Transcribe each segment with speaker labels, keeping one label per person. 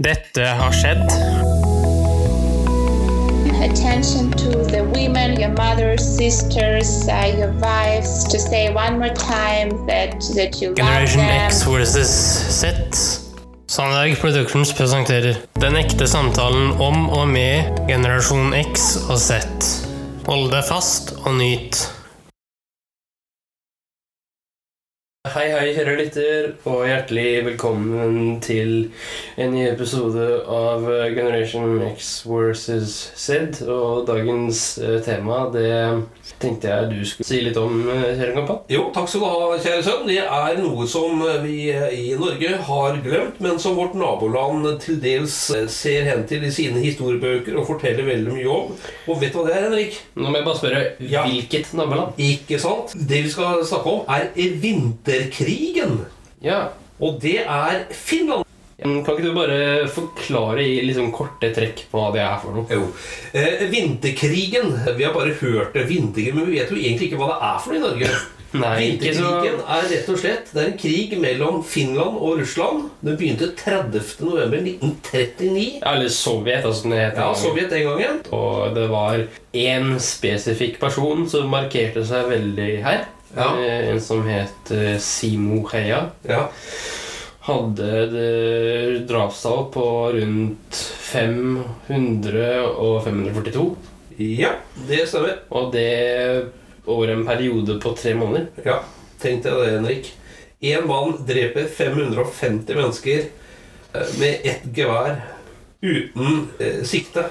Speaker 1: Dette har skjedd.
Speaker 2: attention to the women, your mothers, sisters, uh, your wives, to say one more time that that you
Speaker 1: Generation
Speaker 2: love them.
Speaker 1: X versus Z. Sandberg Productions presenterer Den ekte samtalen om og med generasjon X og Z. Hold deg fast og nyt.
Speaker 3: Hei, hei, kjære lytter, og hjertelig velkommen til en ny episode av eh, Generation X versus Z. Og dagens eh, tema, det tenkte jeg du skulle si litt om, eh, kjære Kampa.
Speaker 4: Jo, takk skal du ha, kjære sønn. Det er noe som eh, vi i Norge har glemt, men som vårt naboland til dels eh, ser hen til i sine historiebøker og forteller veldig mye om. Og vet du hva det er, Henrik?
Speaker 3: Nå må jeg bare spørre,
Speaker 4: Ja.
Speaker 3: hvilket naboland?
Speaker 4: Ikke sant? Det vi skal snakke om, er vinterkrigen.
Speaker 3: Ja.
Speaker 4: Og det er Finland.
Speaker 3: Mm, Kan ikke du bare forklare i liksom korte trekk hva det er for noe?
Speaker 4: Jo. Eh, vinterkrigen. Vi har bare hørt det, vinterkrigen, men vi vet jo egentlig ikke hva det er for noe i Norge.
Speaker 3: Nei, ikke så-
Speaker 4: Vinterkrigen er rett og slett Det er en krig mellom Finland og Russland. Den begynte 30.11.1939.
Speaker 3: Ja, Eller Sovjet, altså den heter.
Speaker 4: Ja, Sovjet den gangen.
Speaker 3: Og det var én spesifikk person som markerte seg veldig her.
Speaker 4: Ja.
Speaker 3: Eh, En som het eh, Simo Heia.
Speaker 4: Ja.
Speaker 3: hadde det drapstall på rundt 500 og 542.
Speaker 4: ja, det stemmer.
Speaker 3: Og det over en periode på tre måneder.
Speaker 4: Ja, Tenk deg det, Henrik. Én mann dreper 550 mennesker eh, med ett gevær uten eh, sikte.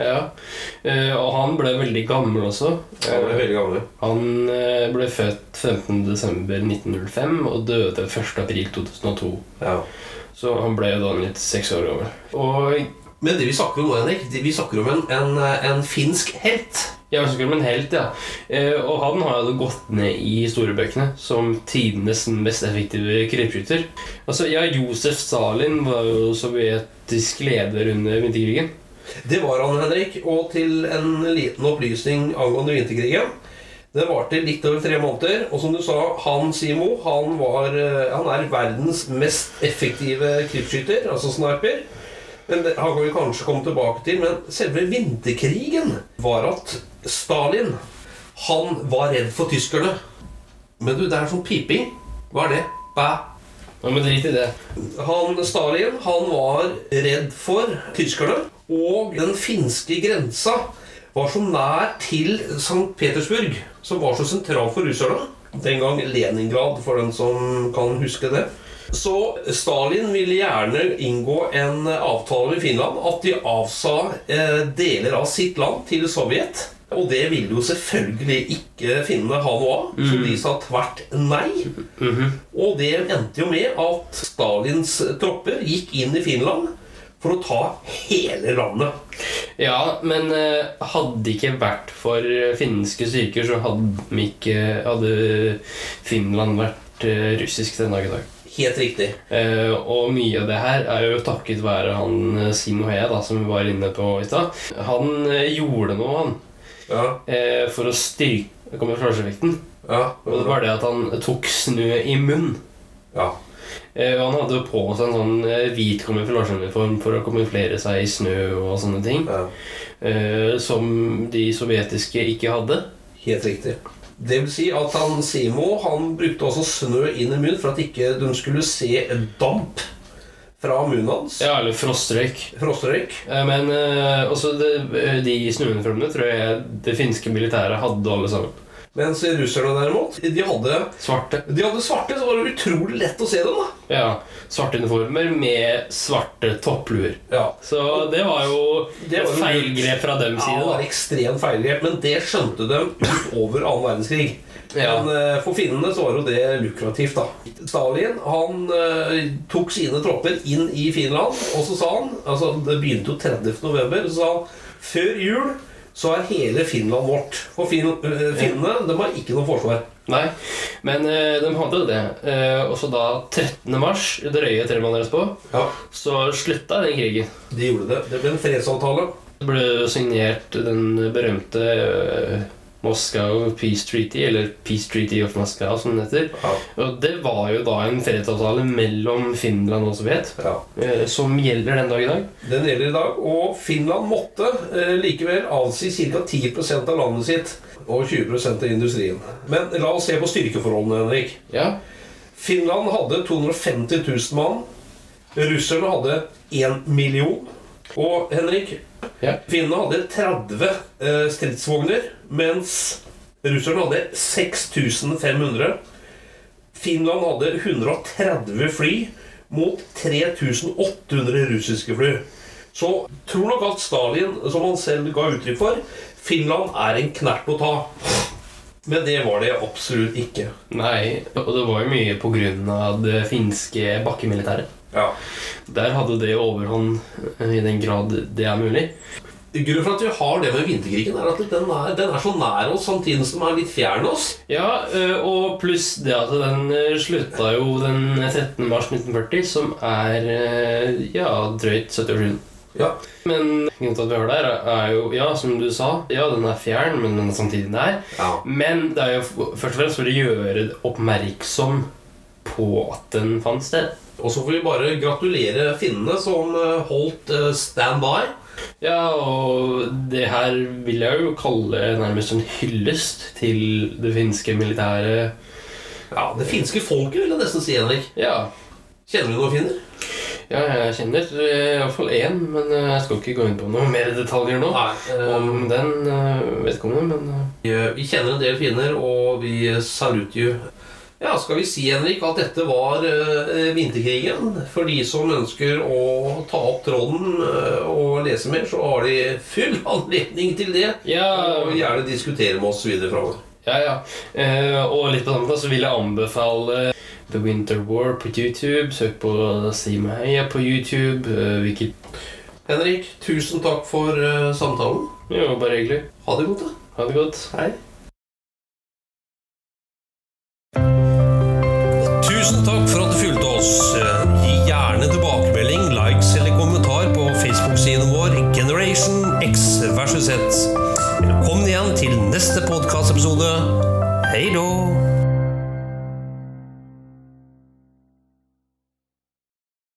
Speaker 3: Ja. Eh, Og han ble veldig gammel også.
Speaker 4: Han ble veldig gammel.
Speaker 3: Han eh, ble født 15.12.1905 og døde 1.4.2002.
Speaker 4: Ja.
Speaker 3: Så han ble jo da 96 år gammel. Og
Speaker 4: Men det vi snakker om nå, Henrik, det vi snakker om en, en, en finsk helt.
Speaker 3: jeg ønsker ham en helt, ja. Eh, Og han har jo gått ned i historiebøkene som tidenes mest effektive krypskytter. Altså, ja, Josef Stalin var jo sovjetisk leder under vinterkrigen.
Speaker 4: Det var han, Henrik. Og til en liten opplysning angående vinterkrigen. Den varte litt over tre måneder. Og som du sa, han Simo han, var, eh, han er verdens mest effektive krypskytter, altså sniper. Men det, Han kan vi kanskje komme tilbake til, men selve vinterkrigen var at Stalin han var redd for tyskerne. Men du, det er sånn piping. Hva er det? Bæ,
Speaker 3: Ja, men drit i det.
Speaker 4: Han, Stalin han var redd for tyskerne, og den finske grensa var så nær til St. Petersburg, som var så sentral for russerne. Den gang Leningrad, for den som kan huske det. Så Stalin ville gjerne inngå en avtale med Finland at de avsa eh, deler av sitt land til Sovjet. Og det ville jo selvfølgelig ikke finnene ha noe av, så de sa tvert nei. Og det endte jo med at Stalins tropper gikk inn i Finland for å ta hele landet.
Speaker 3: Ja, men eh, hadde det ikke vært for eh, finske styrker, så hadde, de ikke, hadde Finland vært eh, russisk den dag i dag.
Speaker 4: Helt riktig.
Speaker 3: Eh, og mye av det her er jo takket være han eh, Simo Hea, da, som vi var inne på i stad. Han eh, gjorde noe, han,
Speaker 4: Ja,
Speaker 3: eh, for å styrke kamuflasjevekten.
Speaker 4: ja,
Speaker 3: Og det var det at han tok snø i munnen.
Speaker 4: ja.
Speaker 3: Eh, og han hadde jo på seg en sånn eh, hvit kamuflasjeuniform for å kamuflere seg i snø og sånne ting.
Speaker 4: ja.
Speaker 3: Eh, som de sovjetiske ikke hadde.
Speaker 4: Helt riktig. Det vil si at han Simo han brukte også snø inn i munnen for at ikke de skulle se en damp fra munnen hans.
Speaker 3: Ja, eller frostrøyk.
Speaker 4: Frostrøyk.
Speaker 3: Eh, Men eh, også det, de snøuniformene tror jeg det finske militæret hadde alle sammen.
Speaker 4: Mens russerne derimot, de hadde,
Speaker 3: Svarte.
Speaker 4: de hadde svarte, så var det utrolig lett å se dem. da.
Speaker 3: Ja, Svarte uniformer med svarte toppluer.
Speaker 4: Ja.
Speaker 3: Så det var jo
Speaker 4: Det var jo
Speaker 3: feilgrep fra dem
Speaker 4: Ja, det
Speaker 3: side.
Speaker 4: var ekstremt feilgrep, men det skjønte de utover annen verdenskrig.
Speaker 3: Ja.
Speaker 4: Men eh, for finnene så var jo det lukrativt, da. Stalin han eh, tok sine tropper inn i Finland, og så sa han altså Det begynte jo 30. november, så sa han før jul så er hele Finland vårt. For fin, eh, finnene de har ikke noe forsvar.
Speaker 3: da. Nei, men eh, de hadde jo det. Eh, også da 13. mars, drøye tre måneder etterpå,
Speaker 4: Ja,
Speaker 3: så slutta den krigen.
Speaker 4: De gjorde det. Det ble en fredsavtale.
Speaker 3: Det ble signert den berømte eh, Moscow Peace Treaty, eller Peace Treaty of Moscow, som det heter.
Speaker 4: Ja.
Speaker 3: Og det var jo da en fredsavtale mellom Finland og Sovjet,
Speaker 4: Ja.
Speaker 3: eh, som gjelder den dag i dag.
Speaker 4: Den gjelder i dag, og Finland måtte eh, likevel avsi ca. 10 av landet sitt og 20 av industrien. Men la oss se på styrkeforholdene, Henrik.
Speaker 3: Ja.
Speaker 4: Finland hadde 250 000 mann. Russerne hadde 1 million. Og Henrik,
Speaker 3: Ja.
Speaker 4: finnene hadde 30 eh, stridsvogner, mens russerne hadde 6500. Finland hadde 130 fly mot 3800 russiske fly. Så tror nok at Stalin, som han selv ga uttrykk for, Finland er en knert å ta. Men det var det absolutt ikke.
Speaker 3: Nei, og det var jo mye på grunn av det finske bakkemilitæret.
Speaker 4: Ja.
Speaker 3: Der hadde det overhånd eh, i den grad det er mulig.
Speaker 4: Grunnen for at vi har det med vinterkrigen, er at den er, den er så nær oss samtidig som den er litt fjern oss.
Speaker 3: Ja, eh, og pluss det at den eh, slutta jo den 13. mars 1940, som er eh, ja, drøyt 70 år siden.
Speaker 4: Ja.
Speaker 3: Men grunnen til at vi har det her, er jo Ja, som du sa, ja, den er fjern, men den er samtidig nær.
Speaker 4: ja.
Speaker 3: Men det er jo f- først og fremst for å gjøre oppmerksom på at den fant sted.
Speaker 4: Og så får vi bare gratulere finnene som eh, holdt eh, standby.
Speaker 3: Ja, og det her vil jeg jo kalle nærmest en hyllest til det finske militæret.
Speaker 4: Ja, Det finske folket, vil jeg nesten si, Henrik.
Speaker 3: Ja,
Speaker 4: Kjenner du noen finner?
Speaker 3: Ja, jeg kjenner iallfall én, men eh, jeg skal ikke gå inn på noe mer detaljer nå.
Speaker 4: Nei.
Speaker 3: Om
Speaker 4: eh,
Speaker 3: den eh, vedkommende, men eh,
Speaker 4: vi, vi kjenner en del finner, og vi saluter jo Ja, skal vi si, Henrik, at dette var eh, vinterkrigen? For de som ønsker å ta opp tråden eh, og lese mer, så har de full anledning til det.
Speaker 3: Ja,
Speaker 4: Og gjerne diskutere med oss videre framover.
Speaker 3: ja. ja. Eh, og litt på samme tid så vil jeg anbefale The Winter War på YouTube. Søk på Si meg heia på YouTube. eh, Hvilket
Speaker 4: Henrik, tusen takk for eh, samtalen.
Speaker 3: Jo, bare hyggelig.
Speaker 4: Ha det godt, da.
Speaker 3: Ha det godt.
Speaker 4: Hei.
Speaker 5: Tusen takk for at du fulgte oss. Eh, Gi gjerne tilbakemelding, likes eller kommentar på Facebook-siden vår Generation X versus Z. Velkommen igjen til neste podkastepisode. Hei då!